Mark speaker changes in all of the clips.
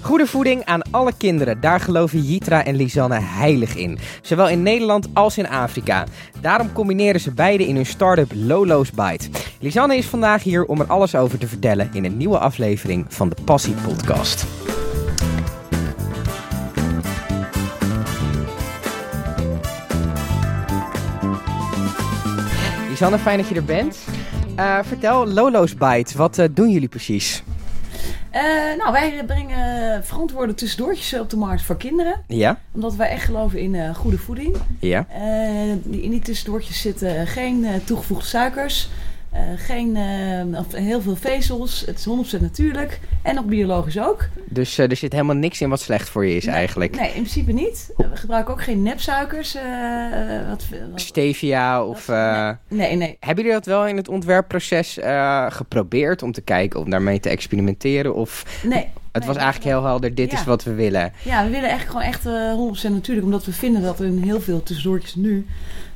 Speaker 1: Goede voeding aan alle kinderen, daar geloven Jitra en Lisanne heilig in. Zowel in Nederland als in Afrika. Daarom combineren ze beide in hun start-up Lolo's Bite. Lisanne is vandaag hier om er alles over te vertellen in een nieuwe aflevering van de Passie Podcast. Lisanne, fijn dat je er bent. Eh, vertel Lolo's Bite, wat eh, doen jullie precies?
Speaker 2: Eh, nou, wij brengen verantwoorde tussendoortjes op de markt voor kinderen.
Speaker 1: Ja,
Speaker 2: Omdat wij echt geloven in eh, goede voeding.
Speaker 1: ja.
Speaker 2: Eh, die- in die tussendoortjes zitten geen eh, toegevoegde suikers. eh, geen, eh, of heel veel vezels. Het is 100% natuurlijk. En nog biologisch ook.
Speaker 1: Dus eh, er zit helemaal niks in wat slecht voor je is
Speaker 2: Nee,
Speaker 1: eigenlijk.
Speaker 2: Nee, in principe niet. We gebruiken ook geen nepsuikers. eh, eh, wat, wat-
Speaker 1: Stevia of...
Speaker 2: Dat-
Speaker 1: eh,
Speaker 2: nee, nee.
Speaker 1: Hebben jullie dat wel in het ontwerpproces eh, geprobeerd om te kijken om daarmee te experimenteren? Of
Speaker 2: nee.
Speaker 1: het was
Speaker 2: Nee.
Speaker 1: eigenlijk heel helder, dit
Speaker 2: Ja.
Speaker 1: is wat we willen.
Speaker 2: Ja, we willen echt gewoon echt eh, 100% natuurlijk. Omdat we vinden dat in heel veel tussendoortjes nu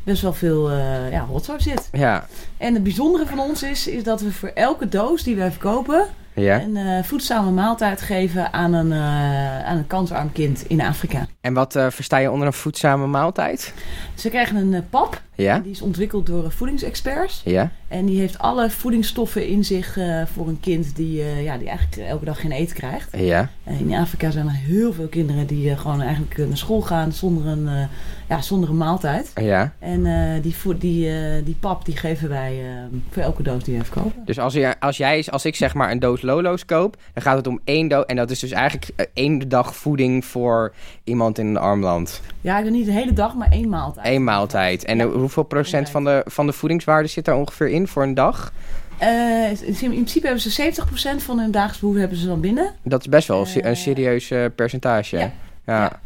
Speaker 2: best wel veel eh ja, rotzooi zit.
Speaker 1: Ja,
Speaker 2: En het bijzondere van ons is, is dat we voor elke doos die wij verkopen...
Speaker 1: ja.
Speaker 2: een eh, voedzame maaltijd geven aan een, eh, aan een kansarm kind in Afrika.
Speaker 1: En wat eh, versta je onder een voedzame maaltijd?
Speaker 2: Ze krijgen een eh, pap,
Speaker 1: Ja,
Speaker 2: die is ontwikkeld door eh, voedingsexperts.
Speaker 1: ja,
Speaker 2: En die heeft alle voedingsstoffen in zich eh, voor een kind die, eh, ja, die eigenlijk elke dag geen eten krijgt.
Speaker 1: ja.
Speaker 2: En in Afrika zijn er heel veel kinderen die eh, gewoon eigenlijk eh, naar school gaan zonder een, eh, ja, zonder een maaltijd.
Speaker 1: Ja,
Speaker 2: En eh, die, voed- die, eh, die pap die geven wij eh, voor elke doos die wij verkopen.
Speaker 1: dus als, je, als jij, als ik zeg maar een doos Lolo's koop, dan gaat het om één doos. En dat is dus eigenlijk eh, één dag voeding voor iemand in een armland.
Speaker 2: Ja, ik doe niet de hele dag, maar één maaltijd.
Speaker 1: Eén maaltijd. En eh, hoeveel procent van de, van de voedingswaarde zit daar ongeveer in voor een dag?
Speaker 2: Eh, in principe hebben ze 70% van hun dagelijks behoeven hebben ze dan binnen.
Speaker 1: Dat is best wel een se-
Speaker 2: Eh,
Speaker 1: een serieus eh, percentage.
Speaker 2: ja.
Speaker 1: ja.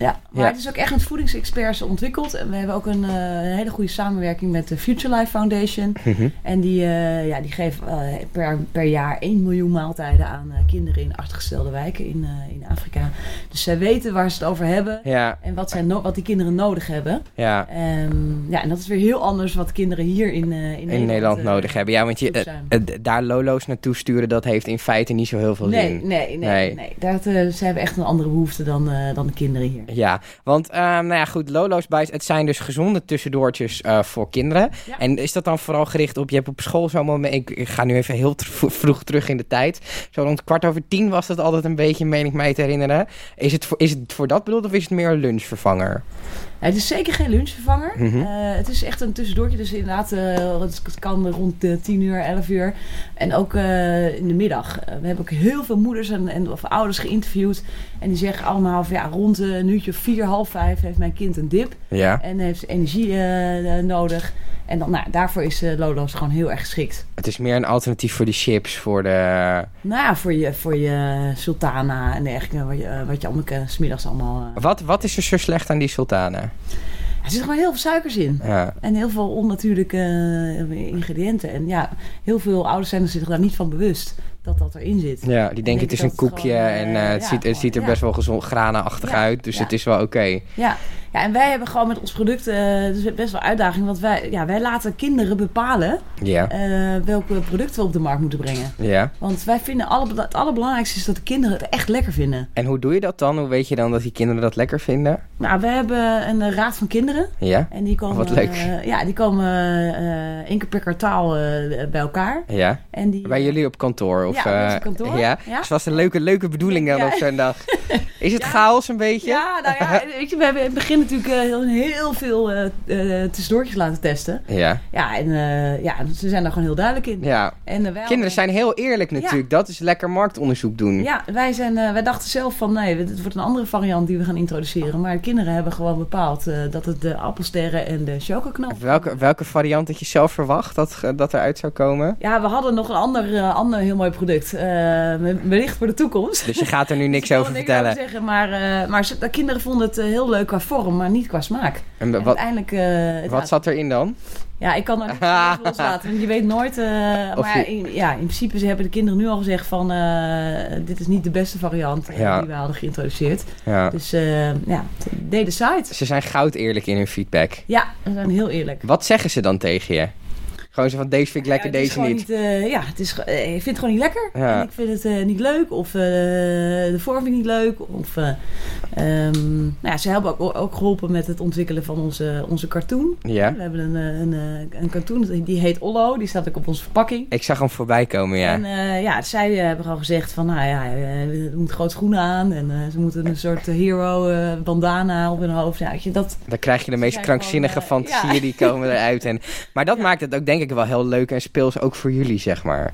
Speaker 2: Ja, maar
Speaker 1: Ja.
Speaker 2: het is ook echt met voedingsexperts ontwikkeld. En we hebben ook een, eh, een hele goede samenwerking met de Future Life Foundation.
Speaker 1: Mhm.
Speaker 2: En die, eh, ja, die geven eh, per, per jaar 1 miljoen maaltijden aan eh, kinderen in achtergestelde wijken in, eh, in Afrika. Dus zij weten waar ze het over hebben
Speaker 1: Ja,
Speaker 2: en wat, zij no- wat die kinderen nodig hebben.
Speaker 1: ja.
Speaker 2: Ehm, ja, en dat is weer heel anders wat kinderen hier in, eh, in,
Speaker 1: In Nederland
Speaker 2: eh,
Speaker 1: nodig hebben. Ja, want je,
Speaker 2: goed zijn.
Speaker 1: eh, eh, d- daar Lolo's naartoe sturen, dat heeft in feite niet zo heel veel
Speaker 2: Nee,
Speaker 1: zin.
Speaker 2: nee, nee.
Speaker 1: Nee.
Speaker 2: nee. Dat, eh, ze hebben echt een andere behoefte dan, eh, dan de kinderen hier.
Speaker 1: Ja, want ehm, nou ja, goed, Lolo's Bites, het zijn dus gezonde tussendoortjes eh, voor kinderen.
Speaker 2: Ja.
Speaker 1: En is dat dan vooral gericht op, je hebt op school zo'n moment, ik, ik ga nu even heel tr- v- vroeg terug in de tijd. Zo rond kwart over tien was dat altijd een beetje, meen ik mij te herinneren. Is het voor, is het voor dat bedoeld of is het meer een lunchvervanger?
Speaker 2: Nou, het is zeker geen lunchvervanger.
Speaker 1: Mhm.
Speaker 2: Eh, het is echt een tussendoortje. Dus inderdaad, eh, het het kan rond eh, 10 uur, 11 uur. En ook eh, in de middag. Eh, we hebben ook heel veel moeders en, en of ouders geïnterviewd. En die zeggen allemaal van ja, rond eh, een uurtje of vier, half vijf heeft mijn kind een dip.
Speaker 1: Ja.
Speaker 2: En heeft energie eh, eh, nodig. En dan, nou, daarvoor is eh, Lolo's gewoon heel erg geschikt.
Speaker 1: Het is meer een alternatief voor de chips, voor de...
Speaker 2: Nou ja, voor je, voor je eh, sultana en dergelijke. Wat je, eh, wat je allemaal, eh, 's smiddags allemaal... eh,
Speaker 1: Wat, wat is er zo slecht aan die sultanen?
Speaker 2: er zitten gewoon heel veel suikers in.
Speaker 1: Ja.
Speaker 2: En heel veel onnatuurlijke eh, ingrediënten. En ja, heel veel ouders zijn er zich daar niet van bewust dat dat erin zit.
Speaker 1: Ja, die denken
Speaker 2: denk
Speaker 1: het is
Speaker 2: dat
Speaker 1: een
Speaker 2: het
Speaker 1: koekje
Speaker 2: gewoon, eh,
Speaker 1: en eh, het,
Speaker 2: ja,
Speaker 1: ziet, het
Speaker 2: gewoon,
Speaker 1: ziet er
Speaker 2: ja.
Speaker 1: best wel gezond granenachtig
Speaker 2: Ja,
Speaker 1: uit. Dus
Speaker 2: ja.
Speaker 1: het is wel oké.
Speaker 2: Ja. ja, en wij hebben gewoon met ons product eh, dus best wel uitdaging. Want wij, ja, wij laten kinderen bepalen
Speaker 1: Ja.
Speaker 2: eh, welke producten we op de markt moeten brengen.
Speaker 1: ja.
Speaker 2: Want wij vinden alle, het allerbelangrijkste is dat de kinderen het echt lekker vinden.
Speaker 1: En hoe doe je dat dan? Hoe weet je dan dat die kinderen dat lekker vinden?
Speaker 2: Nou, we hebben een eh, raad van kinderen.
Speaker 1: Ja.
Speaker 2: En die komen,
Speaker 1: Wat leuk.
Speaker 2: eh, ja, die komen eh, één keer per kwartaal eh, bij elkaar.
Speaker 1: Ja.
Speaker 2: En die,
Speaker 1: Bij jullie op kantoor? Of,
Speaker 2: Ja, bij ons
Speaker 1: eh,
Speaker 2: op kantoor,
Speaker 1: Ja.
Speaker 2: ja.
Speaker 1: Dus was een leuke, leuke bedoeling dan
Speaker 2: Ja.
Speaker 1: op zo'n dag. Is het
Speaker 2: Ja.
Speaker 1: chaos een beetje?
Speaker 2: Ja, nou ja, weet je, we hebben in het begin natuurlijk eh, heel, heel veel eh eh, tussendoortjes laten testen.
Speaker 1: Ja.
Speaker 2: Ja, en eh, ja, ze zijn daar gewoon heel duidelijk in.
Speaker 1: Ja.
Speaker 2: En, eh, wij
Speaker 1: Kinderen zijn heel eerlijk natuurlijk. Dat is lekker marktonderzoek doen.
Speaker 2: Ja, wij, zijn, eh, wij dachten zelf van nee, het wordt een andere variant die we gaan introduceren. Maar de kinderen hebben gewoon bepaald eh, dat het de appelsterren en de chocoknap.
Speaker 1: Welke, welke variant had je zelf verwacht dat, ge- dat eruit zou komen?
Speaker 2: Ja, we hadden nog een ander, eh, ander heel mooi product. Eh, wellicht voor de toekomst.
Speaker 1: Dus je gaat er nu niks over
Speaker 2: Ik wil er niks
Speaker 1: vertellen.
Speaker 2: over zeggen, maar, eh, maar ze- de kinderen vonden het eh, heel leuk qua vorm, maar niet qua smaak.
Speaker 1: En
Speaker 2: En
Speaker 1: wat,
Speaker 2: uiteindelijk... eh, het
Speaker 1: wat zat erin dan?
Speaker 2: Ja, ik kan er niet van loslaten, want je weet nooit. eh,
Speaker 1: Of
Speaker 2: maar
Speaker 1: je-
Speaker 2: in, ja, in principe ze hebben de kinderen nu al gezegd van... eh, dit is niet de beste variant eh,
Speaker 1: Ja.
Speaker 2: die we hadden geïntroduceerd.
Speaker 1: Ja.
Speaker 2: Dus eh ja, deed de site.
Speaker 1: Ze zijn goud eerlijk in hun feedback.
Speaker 2: Ja, we zijn heel eerlijk.
Speaker 1: Wat zeggen ze dan tegen je? Gewoon zo van deze vind ik lekker,
Speaker 2: Ja, het is
Speaker 1: deze
Speaker 2: gewoon
Speaker 1: niet.
Speaker 2: eh, ja, het is, ge- eh, ik vind het gewoon niet lekker.
Speaker 1: Ja.
Speaker 2: En ik vind het eh, niet leuk. Of eh, de vorm vind ik niet leuk. Of, eh, ehm, nou ja, ze hebben ook, ook geholpen met het ontwikkelen van onze, onze cartoon.
Speaker 1: Ja.
Speaker 2: We hebben een, eh, een, eh, een cartoon, die heet Ollo. Die staat ook op onze verpakking.
Speaker 1: Ik zag hem voorbij komen, ja.
Speaker 2: En eh, ja, zij eh, hebben gewoon gezegd van, nou ja, eh, er moet groot groen aan. En eh, ze moeten een soort eh, hero eh, bandana op hun hoofd. Ja, weet je, dat,
Speaker 1: Dan krijg je de meest
Speaker 2: zijn
Speaker 1: krankzinnige
Speaker 2: gewoon, eh,
Speaker 1: fantasieën
Speaker 2: ja.
Speaker 1: die komen eruit. En, maar dat maakt het ook denk ik wel heel leuk en speels ook voor jullie, zeg maar.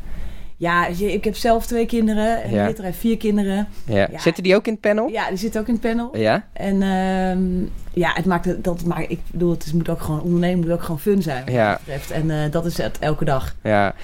Speaker 2: ja, weet je, ik heb zelf twee kinderen. En
Speaker 1: Ja.
Speaker 2: Peter heeft vier kinderen.
Speaker 1: Ja.
Speaker 2: Ja.
Speaker 1: Zitten die ook in het panel?
Speaker 2: Ja, die zitten ook in het panel.
Speaker 1: Ja?
Speaker 2: En ehm, ja, het maakt het- dat maakt, ik bedoel, het is, moet ook gewoon ondernemen, moet ook gewoon fun zijn. Wat
Speaker 1: Ja.
Speaker 2: dat betreft. En eh, dat is het elke dag.
Speaker 1: ja.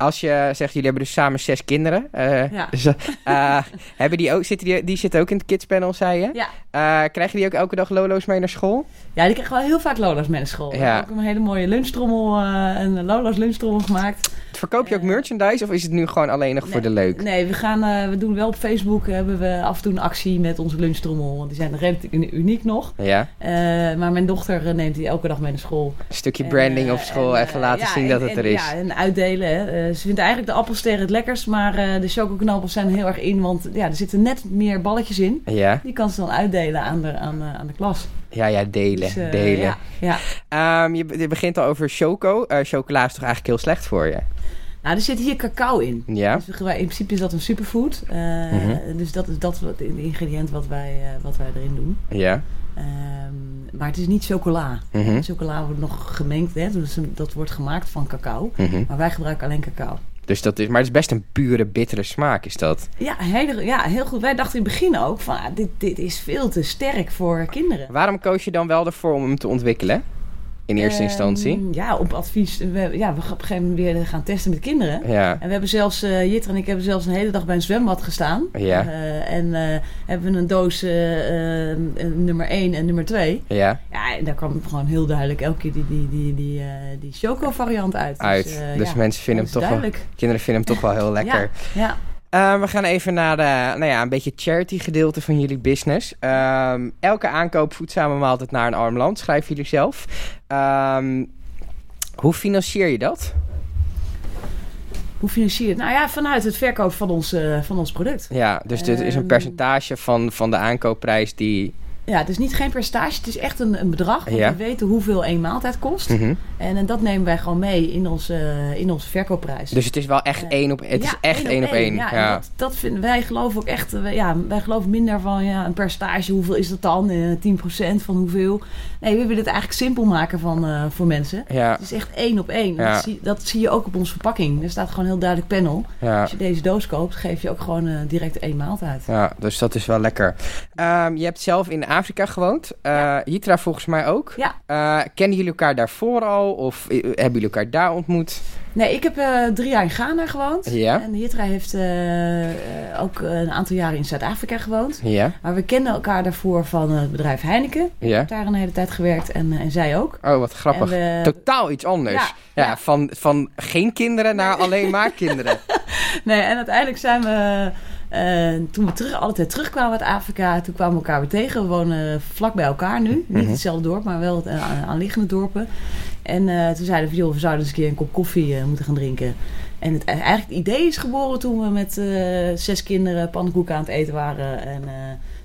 Speaker 1: Als je zegt, jullie hebben dus samen zes kinderen. eh,
Speaker 2: Ja.
Speaker 1: ze- eh, hebben die, ook, zitten die, die zitten ook in het kidspanel, zei je?
Speaker 2: Ja.
Speaker 1: Eh, krijgen die ook elke dag lolo's mee naar school?
Speaker 2: Ja, die krijgen wel heel vaak Lola's mee naar school. Ik
Speaker 1: Ja.
Speaker 2: heb ook een hele mooie lunchtrommel, eh, een Lola's lunchtrommel gemaakt.
Speaker 1: Verkoop je ook merchandise of is het nu gewoon alleen nog voor de leuk?
Speaker 2: Eh. Nee, we, gaan, eh, we doen wel op Facebook, hebben we af en toe een actie met onze lunchtrommel. Want die zijn relatief uni- uniek nog.
Speaker 1: Ja,
Speaker 2: Eh, maar mijn dochter eh, neemt die elke dag mee naar school.
Speaker 1: een stukje
Speaker 2: En,
Speaker 1: branding
Speaker 2: eh,
Speaker 1: op school,
Speaker 2: en,
Speaker 1: even
Speaker 2: eh,
Speaker 1: laten
Speaker 2: ja,
Speaker 1: zien
Speaker 2: en-
Speaker 1: dat het
Speaker 2: en,
Speaker 1: er is.
Speaker 2: Ja, en uitdelen. Hè. Eh, ze vindt eigenlijk de appelsterren het lekkerst, maar eh, de chocoknabbels zijn heel erg in, want ja, er zitten net meer balletjes in.
Speaker 1: Ja,
Speaker 2: Die kan ze dan uitdelen aan de, aan, eh, aan de klas.
Speaker 1: ja, ja delen,
Speaker 2: Dus, eh,
Speaker 1: delen.
Speaker 2: Ja, ja.
Speaker 1: Ehm, je, be- je begint al over choco. Eh, chocola is toch eigenlijk heel slecht voor je?
Speaker 2: Nou, er zit hier cacao in.
Speaker 1: Ja. Mhm.
Speaker 2: Dus we gebruiken- in principe is dat een superfood. Eh, Dus dat is dat wat, het ingrediënt wat wij, eh, wat wij erin doen.
Speaker 1: Ja.
Speaker 2: Ehm, maar het is niet chocola.
Speaker 1: Mhm.
Speaker 2: Chocola wordt nog gemengd, hè? Dus dat wordt gemaakt van cacao.
Speaker 1: Mhm.
Speaker 2: Maar wij gebruiken alleen cacao.
Speaker 1: Dus dat is, maar het is best een pure, bittere smaak, is dat?
Speaker 2: Ja, hele, ja, heel goed. Wij dachten in het begin ook van ah, dit, dit is veel te sterk voor kinderen.
Speaker 1: Waarom koos je dan wel ervoor om hem te ontwikkelen? In eerste
Speaker 2: Ehm,
Speaker 1: instantie?
Speaker 2: Ja, op advies. We, ja, we gaan op een gegeven moment weer gaan testen met kinderen.
Speaker 1: Ja.
Speaker 2: En we hebben zelfs, eh Jitter en ik hebben zelfs een hele dag bij een zwembad gestaan.
Speaker 1: Ja.
Speaker 2: Eh, en eh, hebben we een doos eh, eh, nummer 1 en nummer 2.
Speaker 1: Ja,
Speaker 2: Ja, en daar kwam gewoon heel duidelijk elke keer die, die, die, die, eh, die choco-variant uit.
Speaker 1: uit.
Speaker 2: Dus,
Speaker 1: Dus,
Speaker 2: eh, ja,
Speaker 1: mensen vinden hem toch
Speaker 2: dat is
Speaker 1: wel,
Speaker 2: duidelijk.
Speaker 1: kinderen vinden hem toch wel heel lekker.
Speaker 2: Ja, ja.
Speaker 1: Eh, we gaan even naar de, nou ja, een beetje charity gedeelte van jullie business. Ehm, elke aankoop voedzame maaltijd naar een arm land, schrijven jullie zelf. Ehm, hoe financier je dat?
Speaker 2: Hoe financier je het? Nou ja, vanuit het verkoop van ons, eh, van ons product.
Speaker 1: Ja, dus dit is een
Speaker 2: Ehm.
Speaker 1: percentage van, van de aankoopprijs die...
Speaker 2: Ja, het is niet geen percentage, het is echt een, een bedrag. Want
Speaker 1: Ja.
Speaker 2: we weten hoeveel één maaltijd kost.
Speaker 1: Mhm.
Speaker 2: En, eh, dat nemen wij gewoon mee in onze, eh, in onze verkoopprijs.
Speaker 1: Dus het is wel echt
Speaker 2: Eh,
Speaker 1: één op... Het
Speaker 2: Ja,
Speaker 1: is echt één op één.
Speaker 2: Ja,
Speaker 1: Ja,
Speaker 2: en Dat, dat vinden wij geloven ook echt. eh, Ja, wij geloven minder van ja, een percentage. Hoeveel is dat dan? Eh, 10% van hoeveel? Nee, we willen het eigenlijk simpel maken van, eh, voor mensen.
Speaker 1: ja,
Speaker 2: Het is echt één op één.
Speaker 1: Ja.
Speaker 2: Dat, zie, dat zie je ook op onze verpakking. Er staat gewoon heel duidelijk panel.
Speaker 1: ja,
Speaker 2: Als je deze doos koopt, geef je ook gewoon eh, direct één maaltijd.
Speaker 1: ja, dus dat is wel lekker. Ehm, je hebt zelf in Afrika gewoond. Eh Hitra volgens mij ook.
Speaker 2: Ja.
Speaker 1: Eh, kennen jullie elkaar daarvoor al? Of eh, hebben jullie elkaar daar ontmoet?
Speaker 2: Nee, ik heb eh, drie jaar in Ghana gewoond.
Speaker 1: Ja.
Speaker 2: En Hitra heeft eh, eh, ook een aantal jaren in Zuid-Afrika gewoond.
Speaker 1: Ja,
Speaker 2: Maar we kenden elkaar daarvoor van eh, het bedrijf Heineken. Ik
Speaker 1: ja.
Speaker 2: heb daar een hele tijd gewerkt en, eh, en zij ook.
Speaker 1: Oh, wat grappig.
Speaker 2: En eh, we-
Speaker 1: Totaal iets anders. Ja,
Speaker 2: Ja, ja.
Speaker 1: Van, van geen kinderen naar alleen maar kinderen.
Speaker 2: Nee, en uiteindelijk zijn we... eh, toen we terug, alle twee terugkwamen uit Afrika, toen kwamen we elkaar weer tegen. We wonen vlak bij elkaar nu. Niet
Speaker 1: Mhm.
Speaker 2: hetzelfde dorp, maar wel eh, aan- aanliggende dorpen. En eh, toen zeiden we, joh, we zouden eens een keer een kop koffie eh, moeten gaan drinken. En het, eigenlijk het idee is geboren toen we met eh, zes kinderen pannenkoeken aan het eten waren. En eh,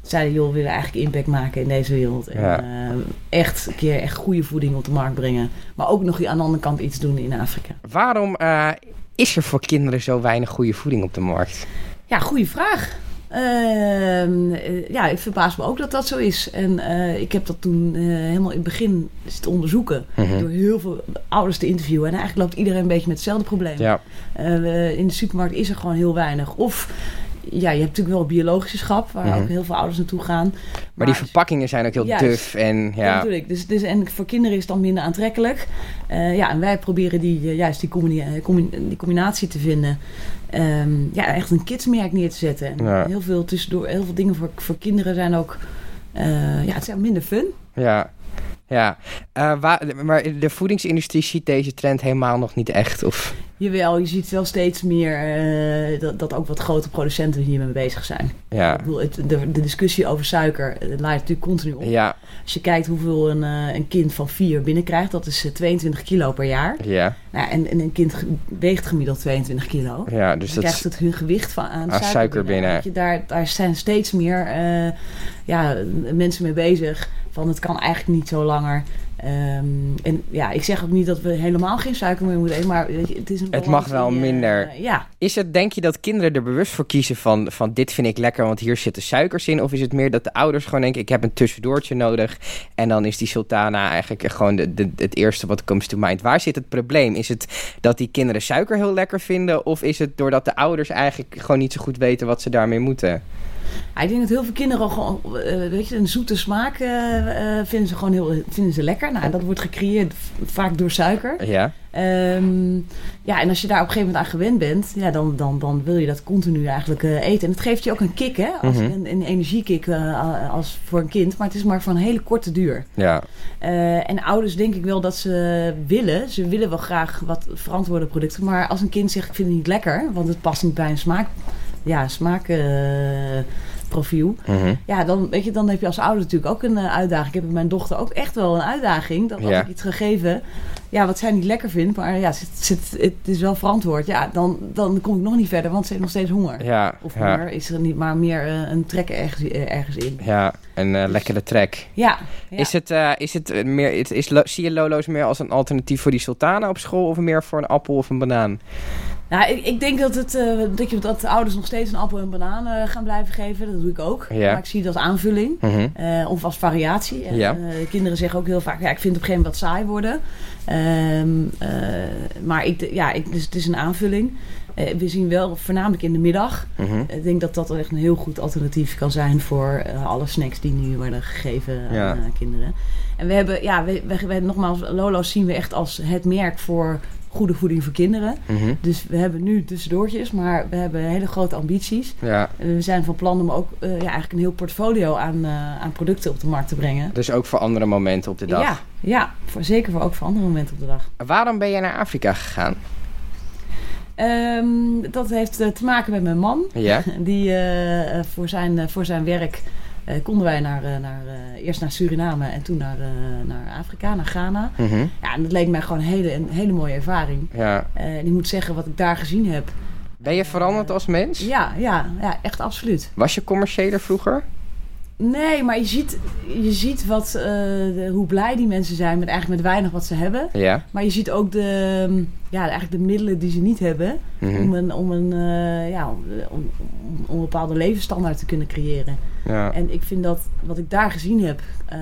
Speaker 2: toen zeiden, joh, we willen eigenlijk impact maken in deze wereld. En
Speaker 1: Ja.
Speaker 2: eh, echt een keer echt goede voeding op de markt brengen. Maar ook nog aan de andere kant iets doen in Afrika.
Speaker 1: Waarom eh, is er voor kinderen zo weinig goede voeding op de markt?
Speaker 2: Ja, goede vraag. Ehm, eh, ja, ik verbaas me ook dat dat zo is. En eh, ik heb dat toen eh, helemaal in het begin zitten onderzoeken.
Speaker 1: Mhm.
Speaker 2: Door heel veel ouders te interviewen. En eigenlijk loopt iedereen een beetje met hetzelfde probleem.
Speaker 1: Ja,
Speaker 2: Eh, we- in de supermarkt is er gewoon heel weinig. Of ja, je hebt natuurlijk wel biologische schap, waar
Speaker 1: Mhm.
Speaker 2: ook heel veel ouders naartoe gaan.
Speaker 1: maar, die verpakkingen zijn ook heel
Speaker 2: Juist.
Speaker 1: duf en
Speaker 2: Ja,
Speaker 1: ja.
Speaker 2: natuurlijk. Dus, dus, en voor kinderen is het dan minder aantrekkelijk. Eh, ja, en wij proberen die, eh, juist die, combini- eh, combi- die combinatie te vinden. Ehm, ja, echt een kidsmerk neer te zetten. En
Speaker 1: Ja.
Speaker 2: Heel veel tussendoor, heel veel dingen voor, voor kinderen zijn ook... eh, ja, het zijn minder fun.
Speaker 1: Ja. Ja, Eh, wa- maar de voedingsindustrie ziet deze trend helemaal nog niet echt. Of...
Speaker 2: Jawel, je ziet wel steeds meer eh, dat, dat ook wat grote producenten hiermee bezig zijn.
Speaker 1: Ja.
Speaker 2: Ik bedoel, het, de, de discussie over suiker eh, laait natuurlijk continu op.
Speaker 1: Ja.
Speaker 2: Als je kijkt hoeveel een, eh, een kind van vier binnenkrijgt, dat is eh, 22 kilo per jaar.
Speaker 1: Ja.
Speaker 2: Nou, en, en een kind ge- weegt gemiddeld 22 kilo.
Speaker 1: Ja. Dus
Speaker 2: Dus
Speaker 1: dat
Speaker 2: krijgt
Speaker 1: is
Speaker 2: het hun gewicht van, aan,
Speaker 1: aan suiker binnen.
Speaker 2: Weet je, daar, daar zijn steeds meer eh, ja, mensen mee bezig. Van het kan eigenlijk niet zo langer. Ehm, en ja, ik zeg ook niet dat we helemaal geen suiker meer moeten eten. Maar weet je, het is een
Speaker 1: Het
Speaker 2: balans
Speaker 1: mag wel
Speaker 2: die, eh,
Speaker 1: minder.
Speaker 2: eh, ja,
Speaker 1: Is het, denk je, dat kinderen er bewust voor kiezen van, van dit vind ik lekker, want hier zitten suikers in? Of is het meer dat de ouders gewoon denken, ik heb een tussendoortje nodig en dan is die sultana eigenlijk gewoon de, de- het eerste wat comes to mind? Waar zit het probleem? Is het dat die kinderen suiker heel lekker vinden of is het doordat de ouders eigenlijk gewoon niet zo goed weten wat ze daarmee moeten?
Speaker 2: Ja, ik denk dat heel veel kinderen gewoon, eh, weet je, een zoete smaak eh, eh, vinden ze gewoon heel vinden ze lekker. Nou, en dat wordt gecreëerd v- vaak door suiker.
Speaker 1: Ja,
Speaker 2: Ehm, ja, en als je daar op een gegeven moment aan gewend bent, ja, dan, dan, dan wil je dat continu eigenlijk eh, eten. En het geeft je ook een kick, hè? Als,
Speaker 1: Mhm.
Speaker 2: een, een energiekick eh, als voor een kind. Maar het is maar van hele korte duur.
Speaker 1: ja,
Speaker 2: Eh, en ouders denk ik wel dat ze willen. Ze willen wel graag wat verantwoorde producten. Maar als een kind zegt ik vind het niet lekker, want het past niet bij een smaak, ja, eh, smaakprofiel.
Speaker 1: Mhm.
Speaker 2: Ja, dan, weet je, dan heb je als ouder natuurlijk ook een eh, uitdaging. Ik heb met mijn dochter ook echt wel een uitdaging. Dat als
Speaker 1: Ja.
Speaker 2: ik iets gegeven, ja, wat zij niet lekker vindt, maar ja, zit, zit, het is wel verantwoord. Ja, dan, dan kom ik nog niet verder, want ze heeft nog steeds honger.
Speaker 1: ja,
Speaker 2: Of
Speaker 1: ja,
Speaker 2: honger is er niet, maar meer eh, een trek ergens, eh, ergens in.
Speaker 1: ja, een eh, lekkere trek.
Speaker 2: Ja, ja.
Speaker 1: Is het, eh, is het eh, meer, is, is, lo- zie je Lolo's meer als een alternatief voor die sultana op school of meer voor een appel of een banaan?
Speaker 2: Nou, ik, ik denk dat, het, eh, dat, je, dat de ouders nog steeds een appel en banaan eh, gaan blijven geven. Dat doe ik ook.
Speaker 1: Ja.
Speaker 2: Maar ik zie dat als aanvulling.
Speaker 1: Mhm.
Speaker 2: Eh, of als variatie. En,
Speaker 1: Ja.
Speaker 2: eh, kinderen zeggen ook heel vaak, ja, ik vind het op een gegeven moment wat saai worden. Ehm, eh, maar ik, ja, ik, dus het is een aanvulling. Eh, we zien wel voornamelijk in de middag.
Speaker 1: mhm.
Speaker 2: Ik denk dat dat echt een heel goed alternatief kan zijn voor eh, alle snacks die nu worden gegeven
Speaker 1: Ja.
Speaker 2: aan eh, kinderen. En we hebben, ja, we, we, we- nogmaals, Lolo's zien we echt als het merk voor goede voeding voor kinderen.
Speaker 1: Mhm.
Speaker 2: Dus we hebben nu tussendoortjes, maar we hebben hele grote ambities.
Speaker 1: Ja,
Speaker 2: We zijn van plan om ook eh, ja, eigenlijk een heel portfolio aan, eh, aan producten op de markt te brengen.
Speaker 1: dus ook voor andere momenten op de dag.
Speaker 2: Ja, ja voor, zeker voor ook voor andere momenten op de dag.
Speaker 1: Waarom ben jij naar Afrika gegaan?
Speaker 2: Ehm, dat heeft eh, te maken met mijn man.
Speaker 1: Ja,
Speaker 2: Die eh, eh, voor, zijn, eh, voor zijn werk eh, konden wij naar, eh, naar, eh, eerst naar Suriname en toen naar, eh, naar Afrika, naar Ghana.
Speaker 1: Mhm.
Speaker 2: Ja, en dat leek mij gewoon een hele, een hele mooie ervaring.
Speaker 1: ja.
Speaker 2: Eh, en ik moet zeggen, wat ik daar gezien heb.
Speaker 1: Ben je veranderd als mens?
Speaker 2: Ja, ja, ja echt absoluut.
Speaker 1: Was je commerciëler vroeger?
Speaker 2: Nee, maar je ziet, je ziet wat, eh, de- hoe blij die mensen zijn met eigenlijk met weinig wat ze hebben.
Speaker 1: Ja.
Speaker 2: Maar je ziet ook de, mm, ja, eigenlijk de middelen die ze niet hebben
Speaker 1: Mhm.
Speaker 2: om, een, om, een, eh, ja, om, om, om een bepaalde levensstandaard te kunnen creëren.
Speaker 1: ja.
Speaker 2: En ik vind dat wat ik daar gezien heb eh,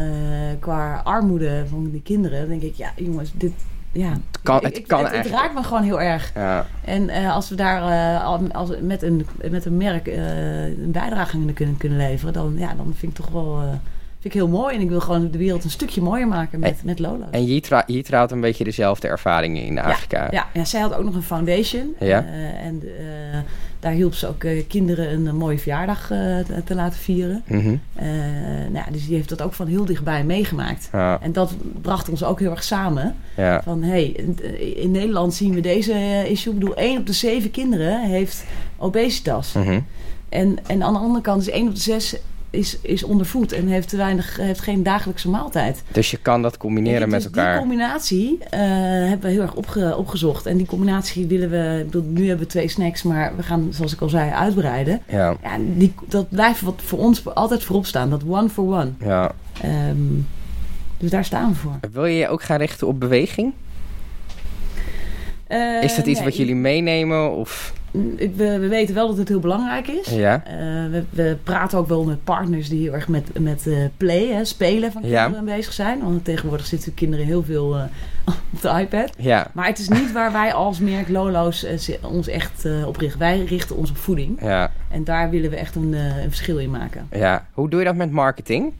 Speaker 2: qua armoede van die kinderen, dan denk ik, ja jongens, dit. Ja, het
Speaker 1: kan- het kan
Speaker 2: het,
Speaker 1: eigenlijk.
Speaker 2: raakt me gewoon heel erg.
Speaker 1: Ja.
Speaker 2: En eh, als we daar eh, al- als, met, een, met een merk eh, een bijdrage aan kunnen, kunnen leveren, dan, ja, dan vind ik toch wel eh, vind ik heel mooi. En ik wil gewoon de wereld een stukje mooier maken
Speaker 1: Eh,
Speaker 2: met, met Lolo.
Speaker 1: En Jitra, Jitra had een beetje dezelfde ervaringen in Afrika.
Speaker 2: Ja, ja, zij had ook nog een foundation.
Speaker 1: Ja.
Speaker 2: Eh, en eh, daar hielp ze ook eh, kinderen een, eh, mooie verjaardag eh, te, te laten vieren.
Speaker 1: Mhm.
Speaker 2: Eh, nou, ja, dus die heeft dat ook van heel dichtbij meegemaakt.
Speaker 1: ja.
Speaker 2: En dat bracht ons ook heel erg samen.
Speaker 1: ja.
Speaker 2: Van hey, in- eh, in Nederland zien we deze eh, issue. Ik bedoel, 1 op de zeven kinderen heeft obesitas.
Speaker 1: Mhm.
Speaker 2: En, en aan de andere kant is 1 op de zes is, is ondervoed en heeft, te weinig, heeft geen dagelijkse maaltijd.
Speaker 1: Dus je kan dat combineren
Speaker 2: Dus
Speaker 1: met elkaar.
Speaker 2: Die combinatie eh, hebben we heel erg opge- opgezocht. En die combinatie willen we. Ik bedoel, nu hebben we twee snacks, maar we gaan, zoals ik al zei, uitbreiden.
Speaker 1: Ja.
Speaker 2: Ja, die, dat blijft wat voor ons altijd voorop staan. Dat one for one.
Speaker 1: ja.
Speaker 2: Ehm, dus daar staan we voor.
Speaker 1: Wil je je ook gaan richten op beweging?
Speaker 2: Eh,
Speaker 1: Is dat iets
Speaker 2: nee,
Speaker 1: wat jullie meenemen? Of...
Speaker 2: ik- we, we weten wel dat het heel belangrijk is.
Speaker 1: Ja.
Speaker 2: Eh, we, we praten ook wel met partners die heel erg met, met eh, play, hè, spelen van
Speaker 1: Ja.
Speaker 2: kinderen bezig zijn. Want tegenwoordig zitten kinderen heel veel eh, op de iPad.
Speaker 1: Ja.
Speaker 2: Maar het is niet waar wij als merk Lolo's eh, zi- ons echt eh, op richten. Wij richten ons op voeding.
Speaker 1: Ja.
Speaker 2: En daar willen we echt een, eh, een verschil in maken.
Speaker 1: Ja. Hoe doe je dat met marketing?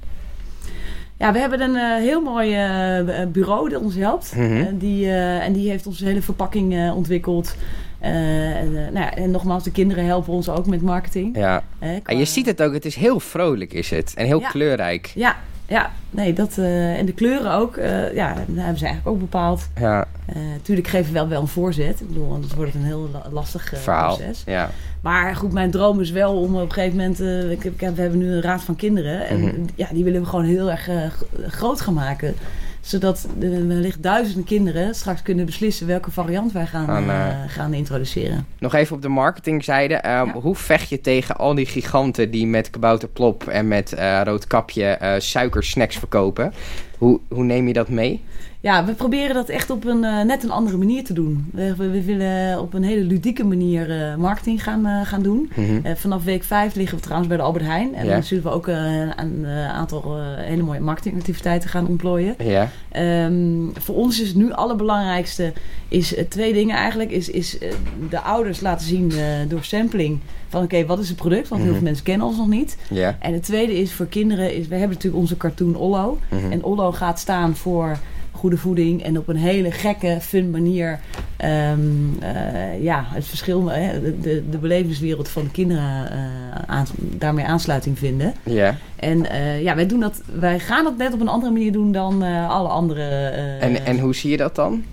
Speaker 2: Ja, we hebben een eh, heel mooi eh, bureau dat ons helpt.
Speaker 1: Mhm.
Speaker 2: En, die, eh, en die heeft onze hele verpakking eh, ontwikkeld. Eh, en, eh, nou ja, en nogmaals, de kinderen helpen ons ook met marketing.
Speaker 1: Ja. Ah,
Speaker 2: Eh, qua-
Speaker 1: En je ziet het ook, het is heel vrolijk is het. En heel
Speaker 2: Ja.
Speaker 1: kleurrijk.
Speaker 2: Ja, Ja, nee, dat, eh, en de kleuren ook. eh, ja, dat hebben ze eigenlijk ook bepaald.
Speaker 1: Ja,
Speaker 2: Eh, tuurlijk geven we wel, wel een voorzet. Ik bedoel, anders wordt het een heel la- lastig eh,
Speaker 1: verhaal.
Speaker 2: proces.
Speaker 1: Ja.
Speaker 2: Maar goed, mijn droom is wel om op een gegeven moment... eh, ik, heb- ik heb- we hebben nu een raad van kinderen. En
Speaker 1: Mhm.
Speaker 2: ja, die willen we gewoon heel erg eh, g- groot gaan maken. Zodat eh, wellicht duizenden kinderen straks kunnen beslissen... welke variant wij gaan,
Speaker 1: Aan,
Speaker 2: eh,
Speaker 1: eh,
Speaker 2: gaan introduceren.
Speaker 1: Nog even op de marketingzijde. ehm,
Speaker 2: Ja.
Speaker 1: Hoe vecht je tegen al die giganten die met kabouterplop en met eh, roodkapje eh, suikersnacks verkopen? Hoe, hoe neem je dat mee?
Speaker 2: Ja, we proberen dat echt op een eh, net een andere manier te doen. We, we- we willen op een hele ludieke manier eh, marketing gaan, eh, gaan doen. Eh, vanaf week 5 liggen we trouwens bij de Albert Heijn. En
Speaker 1: Ja.
Speaker 2: dan zullen we ook eh, een eh, aantal eh, hele mooie marketingactiviteiten gaan ontplooien.
Speaker 1: Ja.
Speaker 2: Ehm, voor ons is nu het allerbelangrijkste is, eh, twee dingen eigenlijk. Is, is eh, de ouders laten zien eh, door sampling van oké, wat is het product? Want heel
Speaker 1: Mhm.
Speaker 2: veel mensen kennen ons nog niet.
Speaker 1: Ja.
Speaker 2: En het tweede is voor kinderen, is, we hebben natuurlijk onze cartoon Ollo.
Speaker 1: Mhm.
Speaker 2: En Ollo gaat staan voor goede voeding en op een hele gekke, fun manier ehm, eh, ja, het verschil, eh, de- de, de belevingswereld van de kinderen eh, aans- daarmee aansluiting vinden.
Speaker 1: ja.
Speaker 2: En eh, ja, wij, doen dat, wij gaan dat net op een andere manier doen dan eh, alle andere. eh,
Speaker 1: En, en hoe zie je dat dan?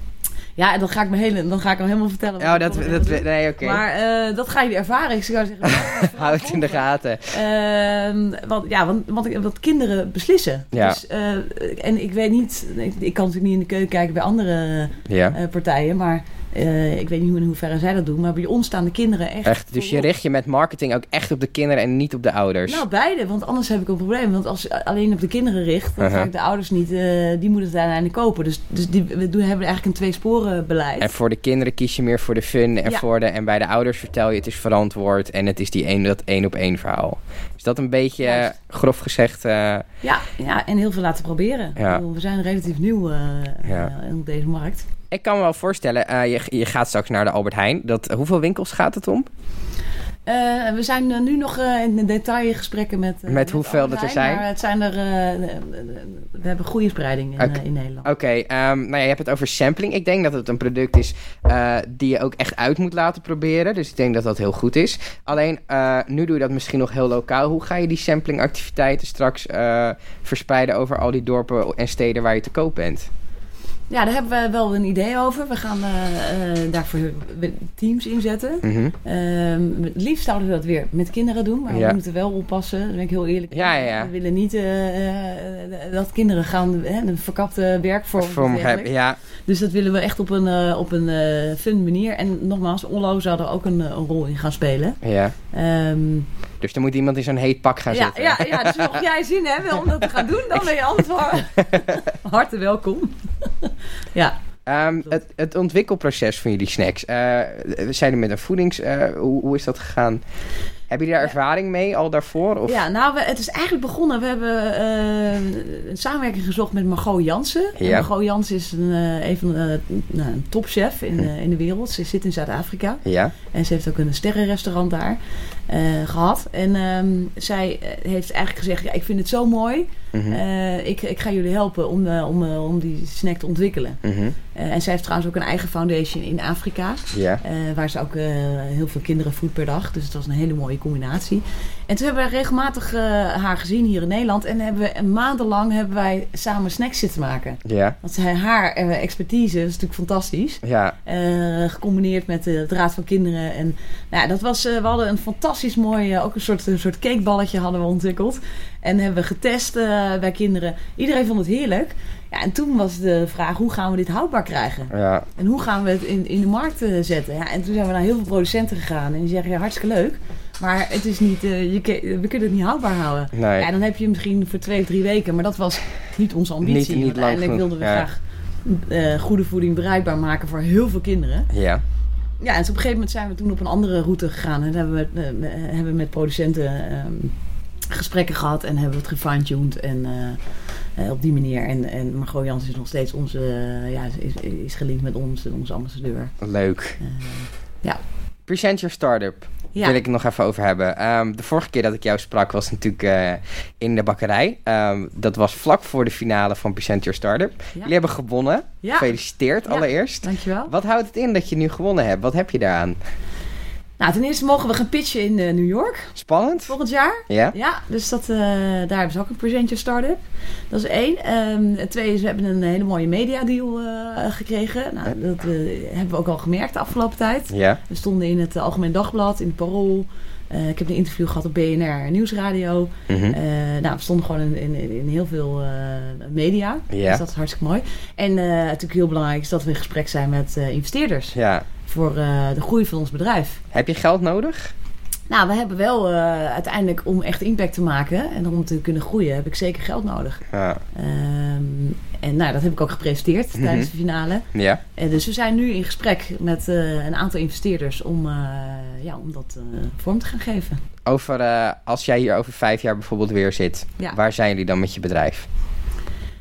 Speaker 2: Ja, en dan ga ik, me hele, dan ga ik hem helemaal vertellen.
Speaker 1: Oh,
Speaker 2: wat-
Speaker 1: dat...
Speaker 2: wat-
Speaker 1: dat nee, oké.
Speaker 2: Maar eh, dat ga je ervaren. Ik zou zeggen,
Speaker 1: Houd het in de gaten.
Speaker 2: Ehm, want, ja, want, want, ik- want kinderen beslissen.
Speaker 1: Ja.
Speaker 2: Dus, eh, en ik weet niet, ik, ik kan natuurlijk niet in de keuken kijken bij andere
Speaker 1: Ja.
Speaker 2: eh, partijen, maar eh, ik weet niet hoe in hoeverre zij dat doen. Maar bij ons staan de kinderen echt.
Speaker 1: Echt. Dus je
Speaker 2: voorop.
Speaker 1: richt je met marketing ook echt op de kinderen en niet op de ouders.
Speaker 2: Nou, beide, want anders heb ik een probleem. Want als je alleen op de kinderen richt, dan
Speaker 1: Uh-huh.
Speaker 2: ga ik de ouders niet, eh, die moeten het uiteindelijk kopen. Dus, dus die, we doen, hebben eigenlijk een tweesporen beleid.
Speaker 1: En voor de kinderen kies je meer voor de fun en
Speaker 2: Ja.
Speaker 1: voor de... En bij de ouders vertel je het is verantwoord en het is die één dat één op één verhaal. Is dat een beetje eh,
Speaker 2: Juist.
Speaker 1: grof gezegd... eh,
Speaker 2: Ja, ja, en heel veel laten proberen.
Speaker 1: Ja.
Speaker 2: Ik bedoel, We zijn relatief nieuw eh,
Speaker 1: Ja.
Speaker 2: eh, op deze markt.
Speaker 1: Ik kan me wel voorstellen, eh, je, je gaat straks naar de Albert Heijn. Dat, hoeveel winkels gaat het om?
Speaker 2: Eh, we zijn eh, nu nog eh, in de detailgesprekken met... eh,
Speaker 1: Met hoeveel
Speaker 2: Albert
Speaker 1: dat er
Speaker 2: Heijn,
Speaker 1: zijn?
Speaker 2: Maar het zijn er... eh, eh, eh, we hebben goede spreiding in,
Speaker 1: Oké.
Speaker 2: eh, in Nederland.
Speaker 1: Oké, ehm, nou ja, je hebt het over sampling. Ik denk dat het een product is eh, die je ook echt uit moet laten proberen. Dus ik denk dat dat heel goed is. Alleen, eh, nu doe je dat misschien nog heel lokaal. Hoe ga je die samplingactiviteiten straks eh, verspreiden over al die dorpen en steden waar je te koop bent?
Speaker 2: Ja, daar hebben we wel een idee over. We gaan eh, eh, daarvoor teams inzetten.
Speaker 1: Mhm.
Speaker 2: Ehm, het liefst zouden we dat weer met kinderen doen. Maar
Speaker 1: Ja.
Speaker 2: we moeten wel oppassen. Daar ben ik heel eerlijk in.
Speaker 1: Ja, ja, ja.
Speaker 2: We willen niet eh, eh, dat kinderen gaan... Hè, een verkapte werkvorm. of
Speaker 1: Voor-
Speaker 2: dergelijks.
Speaker 1: ja,
Speaker 2: Dus dat willen we echt op een, eh, op een eh fun manier. En nogmaals, Onlo zou er ook een, eh, een rol in gaan spelen.
Speaker 1: ja.
Speaker 2: Ehm,
Speaker 1: Dus er moet iemand in zo'n heet pak gaan
Speaker 2: ja,
Speaker 1: zitten.
Speaker 2: ja, ja, dus mocht jij zin hebben om dat te gaan doen, dan ben je altijd van harte welkom. ja.
Speaker 1: Ehm, het, het ontwikkelproces van jullie snacks. Eh, we zijn er met een voedings... eh, hoe, hoe is dat gegaan? Hebben jullie daar ervaring mee al daarvoor? Of?
Speaker 2: ja, nou, we, het is eigenlijk begonnen. We hebben eh, een samenwerking gezocht met Margot Jansen. En
Speaker 1: Ja.
Speaker 2: Margot Jansen is een, eh, een van de, nou, een topchef in,
Speaker 1: Hm.
Speaker 2: eh, in de wereld. Ze zit in Zuid-Afrika.
Speaker 1: Ja.
Speaker 2: En ze heeft ook een sterrenrestaurant daar eh, gehad. En ehm, zij eh, heeft eigenlijk gezegd, ja, ik vind het zo mooi.
Speaker 1: Mhm.
Speaker 2: Eh, ik, ik ga jullie helpen om, eh, om, eh, om die snack te ontwikkelen.
Speaker 1: Mhm.
Speaker 2: Eh, en zij heeft trouwens ook een eigen foundation in Afrika.
Speaker 1: Ja.
Speaker 2: eh, waar ze ook eh, heel veel kinderen voedt per dag. Dus het was een hele mooie combinatie. En toen hebben we regelmatig eh, haar gezien hier in Nederland. En hebben we, en maandenlang hebben wij samen snacks zitten maken.
Speaker 1: Ja.
Speaker 2: Want zij, haar eh, expertise is natuurlijk fantastisch.
Speaker 1: Ja.
Speaker 2: Eh, gecombineerd met eh, het Raad van Kinderen. En nou, ja, dat was, eh, we hadden een fantastisch mooi, eh, ook een soort, een soort cakeballetje hadden we ontwikkeld. En hebben we getest eh, bij kinderen. Iedereen vond het heerlijk. Ja, en toen was de vraag, hoe gaan we dit houdbaar krijgen?
Speaker 1: Ja.
Speaker 2: En hoe gaan we het in, in de markt eh, zetten? Ja, en toen zijn we naar heel veel producenten gegaan. En die zeggen, ja, hartstikke leuk. Maar het is niet, eh, je, ke- we kunnen het niet houdbaar houden.
Speaker 1: Nee.
Speaker 2: Ja, dan heb je hem misschien voor twee of drie weken. Maar dat was niet onze ambitie.
Speaker 1: niet
Speaker 2: want
Speaker 1: lang
Speaker 2: uiteindelijk
Speaker 1: genoeg,
Speaker 2: wilden we
Speaker 1: ja.
Speaker 2: graag eh, goede voeding bereikbaar maken voor heel veel kinderen.
Speaker 1: Ja.
Speaker 2: Ja, en dus op een gegeven moment zijn we toen op een andere route gegaan. En hebben we, eh, eh, hebben we met producenten ehm, gesprekken gehad. En hebben we het gefine-tuned. En eh, eh, op die manier. En, en Margot Jans is nog steeds onze... eh, ja, is, is gelinkt met ons en onze ambassadeur.
Speaker 1: Leuk.
Speaker 2: Eh,
Speaker 1: Present your startup.
Speaker 2: ja.
Speaker 1: wil ik het nog even over hebben. Ehm, de vorige keer dat ik jou sprak was natuurlijk eh, in de bakkerij. Ehm, dat was vlak voor de finale van Present Your Startup. Jullie hebben gewonnen.
Speaker 2: ja,
Speaker 1: Gefeliciteerd
Speaker 2: Ja.
Speaker 1: allereerst.
Speaker 2: dankjewel.
Speaker 1: Wat houdt het in dat je nu gewonnen hebt? Wat heb je daaraan?
Speaker 2: Nou, ten eerste mogen we gaan pitchen in eh, New York
Speaker 1: Spannend.
Speaker 2: volgend jaar.
Speaker 1: Ja.
Speaker 2: Ja, dus dat, eh, daar hebben ze ook een presentje start-up. Dat is één. Ehm, het tweede is, we hebben een hele mooie mediadeal eh gekregen. Nou, dat eh, hebben we ook al gemerkt de afgelopen tijd.
Speaker 1: Ja.
Speaker 2: We stonden in het eh, Algemeen Dagblad, in het Parool. Eh, ik heb een interview gehad op BNR Nieuwsradio.
Speaker 1: Mhm.
Speaker 2: Eh, nou, we stonden gewoon in, in, in heel veel eh, media.
Speaker 1: Ja.
Speaker 2: Dus dat is hartstikke mooi. En eh, natuurlijk heel belangrijk is dat we in gesprek zijn met eh, investeerders
Speaker 1: ja.
Speaker 2: voor eh, de groei van ons bedrijf.
Speaker 1: Heb je geld nodig?
Speaker 2: Nou, we hebben wel eh, uiteindelijk om echt impact te maken en om te kunnen groeien, heb ik zeker geld nodig.
Speaker 1: Ja.
Speaker 2: Ehm, en nou, dat heb ik ook gepresenteerd tijdens de finale.
Speaker 1: ja.
Speaker 2: Eh, dus we zijn nu in gesprek met eh, een aantal investeerders om, eh, ja, om dat eh, vorm te gaan geven.
Speaker 1: Over, eh, als jij hier over vijf jaar bijvoorbeeld weer zit,
Speaker 2: Ja.
Speaker 1: waar zijn jullie dan met je bedrijf?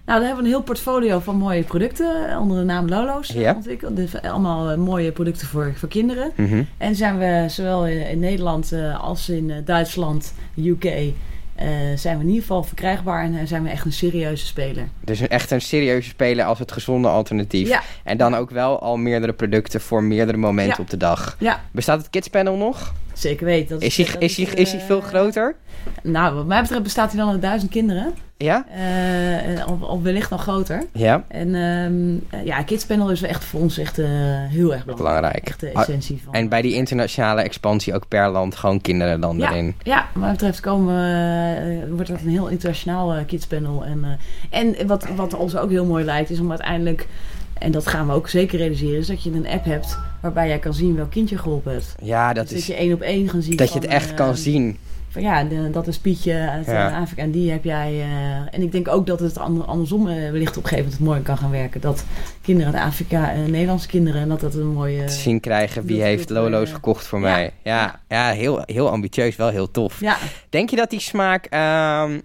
Speaker 2: Nou, dan hebben we een heel portfolio van mooie producten eh, onder de naam Lolo's eh,
Speaker 1: Ja.
Speaker 2: ontwikkeld. Dus allemaal eh, mooie producten voor, voor kinderen.
Speaker 1: Mhm.
Speaker 2: En zijn we zowel in in Nederland eh, als in eh, Duitsland, UK, eh, zijn we in ieder geval verkrijgbaar en eh, zijn we echt een serieuze speler.
Speaker 1: Dus een- echt een serieuze speler als het gezonde alternatief.
Speaker 2: Ja.
Speaker 1: En dan ook wel al meerdere producten voor meerdere momenten
Speaker 2: Ja.
Speaker 1: op de dag.
Speaker 2: Ja,
Speaker 1: Bestaat het kidspanel nog?
Speaker 2: zeker weten. Dat
Speaker 1: Is hij
Speaker 2: dat
Speaker 1: is die- is die
Speaker 2: eh,
Speaker 1: veel groter?
Speaker 2: Nou, wat mij betreft bestaat hij dan uit duizend kinderen.
Speaker 1: Ja?
Speaker 2: Eh, en of, of wellicht nog groter.
Speaker 1: Ja,
Speaker 2: En ehm, eh, ja, Kidspanel is echt voor ons echt eh, heel erg belangrijk.
Speaker 1: belangrijk.
Speaker 2: Echt eh, de
Speaker 1: Ah,
Speaker 2: essentie van.
Speaker 1: En bij die internationale expansie ook per land gewoon kinderen dan
Speaker 2: Ja.
Speaker 1: erin.
Speaker 2: Ja, wat mij betreft komen, we, eh, wordt dat een heel internationaal eh, kidspanel. En, eh, en wat, wat ons ook heel mooi lijkt, is om uiteindelijk, en dat gaan we ook zeker realiseren, is dat je een app hebt waarbij jij kan zien welk kind je geholpen hebt.
Speaker 1: Ja,
Speaker 2: Dat
Speaker 1: dat
Speaker 2: dus dat
Speaker 1: is...
Speaker 2: je één op één kan zien.
Speaker 1: Dat je
Speaker 2: van,
Speaker 1: het echt
Speaker 2: eh,
Speaker 1: kan zien.
Speaker 2: Van, ja, de- dat is Pietje uit eh,
Speaker 1: Ja.
Speaker 2: Afrika en die heb jij. eh, en ik denk ook dat het ander- andersom eh, wellicht op een gegeven moment mooi kan gaan werken. Dat kinderen uit Afrika, eh, Nederlandse kinderen, en dat dat een mooie...
Speaker 1: te zien krijgen wie
Speaker 2: dat
Speaker 1: heeft
Speaker 2: doet, eh,
Speaker 1: Lolo's gekocht voor
Speaker 2: ja.
Speaker 1: mij. Ja, ja heel, heel ambitieus, wel heel tof.
Speaker 2: Ja,
Speaker 1: Denk je dat die smaak, ehm,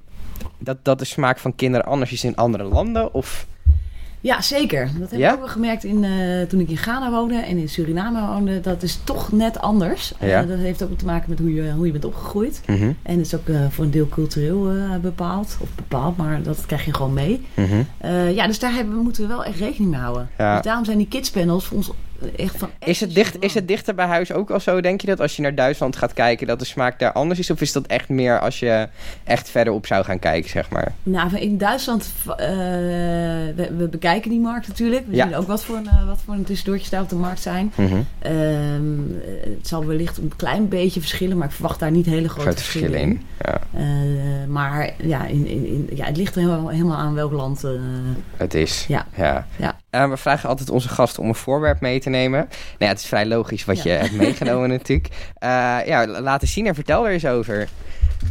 Speaker 1: dat, dat de smaak van kinderen anders is in andere landen? Of
Speaker 2: Ja, zeker. Dat heb
Speaker 1: Ja?
Speaker 2: ik ook wel gemerkt in, eh, toen ik in Ghana woonde en in Suriname woonde. Dat is toch net anders.
Speaker 1: Ja.
Speaker 2: Eh, dat heeft ook te maken met hoe je, hoe je bent opgegroeid.
Speaker 1: Mhm,
Speaker 2: En dat is ook eh, voor een deel cultureel eh, bepaald. Of bepaald, maar dat krijg je gewoon mee.
Speaker 1: mhm.
Speaker 2: Eh, ja, dus daar hebben, moeten we wel echt rekening mee houden.
Speaker 1: Ja.
Speaker 2: Dus daarom zijn die kidspanels voor ons echt van...
Speaker 1: is, het dicht, is het dichter bij huis ook al zo? Denk je dat als je naar Duitsland gaat kijken, dat de smaak daar anders is? Of is dat echt meer als je echt verder op zou gaan kijken, zeg maar?
Speaker 2: Nou, in Duitsland, eh, we, we bekijken die markt natuurlijk. We
Speaker 1: Ja.
Speaker 2: zien ook wat voor, een, eh, wat voor een tussendoortjes daar op de markt zijn.
Speaker 1: Mhm.
Speaker 2: Ehm, eh, het zal wellicht een klein beetje verschillen, maar ik verwacht daar niet hele grote
Speaker 1: Groot
Speaker 2: verschillen
Speaker 1: verschil in. Ja,
Speaker 2: Eh, maar ja, in, in, in, ja, het ligt er helemaal, helemaal aan welk land. eh,
Speaker 1: het is.
Speaker 2: ja.
Speaker 1: Ja.
Speaker 2: Ja.
Speaker 1: Eh, we vragen altijd onze gasten om een voorwerp mee te nemen. Nou ja, het is vrij logisch wat
Speaker 2: Ja.
Speaker 1: je hebt meegenomen natuurlijk. Eh, ja, laat eens zien en vertel er eens over.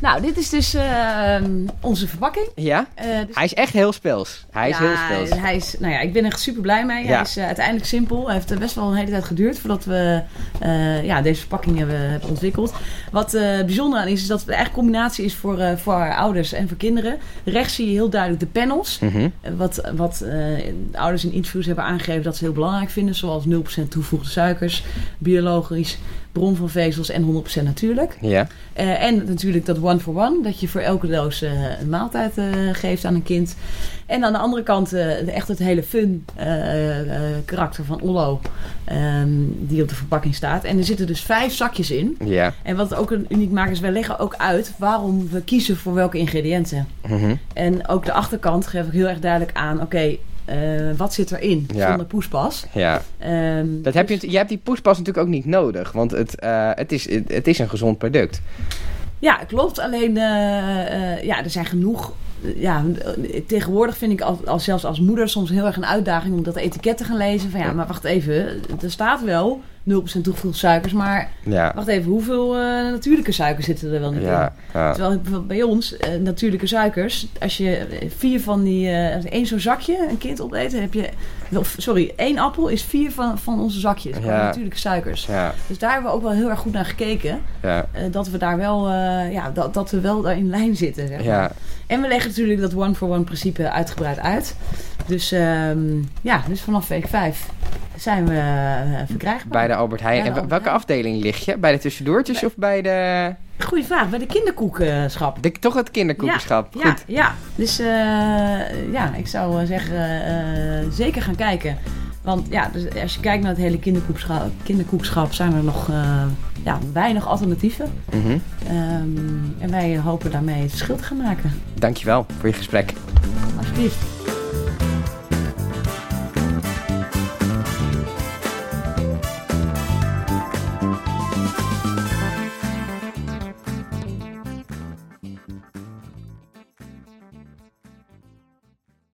Speaker 2: Nou, dit is dus eh, onze verpakking.
Speaker 1: Ja?
Speaker 2: Eh, dus-
Speaker 1: Hij is echt heel speels. Hij is
Speaker 2: Ja,
Speaker 1: heel speels.
Speaker 2: Hij is, nou ja, ik ben echt super blij mee.
Speaker 1: Ja.
Speaker 2: Hij is eh, uiteindelijk simpel. Hij heeft eh, best wel een hele tijd geduurd voordat we eh, ja, deze verpakking hebben, hebben ontwikkeld. Wat eh, bijzonder aan is, is dat het echt een combinatie is voor, eh, voor ouders en voor kinderen. Rechts zie je heel duidelijk de panels.
Speaker 1: Mhm.
Speaker 2: Eh, Wat, wat eh, de ouders in interviews hebben aangegeven dat ze heel belangrijk vinden. Zoals 0% toegevoegde suikers, biologisch, bron van vezels en 100% natuurlijk.
Speaker 1: Ja.
Speaker 2: Eh, en natuurlijk dat one-for-one, dat je voor elke doos eh, een maaltijd eh, geeft aan een kind. En aan de andere kant eh, echt het hele fun eh, eh, karakter van Ollo, ehm, die op de verpakking staat. En er zitten dus vijf zakjes in.
Speaker 1: Ja.
Speaker 2: En wat het ook een uniek maakt is, wij leggen ook uit waarom we kiezen voor welke ingrediënten.
Speaker 1: Mhm.
Speaker 2: En ook de achterkant geef ik heel erg duidelijk aan, oké, eh, wat zit erin
Speaker 1: Ja.
Speaker 2: zonder poespas?
Speaker 1: ja.
Speaker 2: Ehm,
Speaker 1: Dat heb je, je hebt die poespas natuurlijk ook niet nodig. Want het, eh, het, is, het, het is een gezond product.
Speaker 2: Ja, klopt. Alleen, eh, eh, ja, er zijn genoeg. eh, Ja, eh, tegenwoordig vind ik als, als, zelfs als moeder soms heel erg een uitdaging om dat etiket te gaan lezen. Van ja, maar wacht even, er staat wel 0% toegevoegde suikers, maar
Speaker 1: Ja.
Speaker 2: wacht even, hoeveel eh, natuurlijke suikers zitten er wel niet in?
Speaker 1: Ja. ja.
Speaker 2: Terwijl bijvoorbeeld bij ons, eh, natuurlijke suikers, als je vier van die, eh, als één zo'n zakje een kind opeet, dan heb je, of, sorry, één appel is vier van, van onze zakjes, van
Speaker 1: Ja.
Speaker 2: natuurlijke suikers.
Speaker 1: Ja.
Speaker 2: Dus daar hebben we ook wel heel erg goed naar gekeken.
Speaker 1: Ja.
Speaker 2: Eh, dat we daar wel, eh, ja, dat, dat we wel daar in lijn zitten. Zeg maar.
Speaker 1: Ja.
Speaker 2: En we leggen natuurlijk dat one-for-one principe uitgebreid uit. Dus ehm, ja, dus vanaf week 5 zijn we eh, verkrijgbaar.
Speaker 1: Bij de Albert Heijn.
Speaker 2: Bij de
Speaker 1: En wa-
Speaker 2: Albert
Speaker 1: welke
Speaker 2: Heijn.
Speaker 1: afdeling lig je? Bij de tussendoortjes of bij de,
Speaker 2: Goeie vraag, bij de kinderkoekenschap.
Speaker 1: de- Toch het kinderkoekenschap?
Speaker 2: Ja,
Speaker 1: Goed.
Speaker 2: ja, dus eh, ja, ik zou eh, zeggen, eh, zeker gaan kijken. Want ja, dus als je kijkt naar het hele kinderkoekschap, kinderkoekschap zijn er nog eh, ja, weinig alternatieven.
Speaker 1: Mhm.
Speaker 2: Ehm, en wij hopen daarmee het verschil te gaan maken.
Speaker 1: Dankjewel voor je gesprek.
Speaker 2: Alsjeblieft.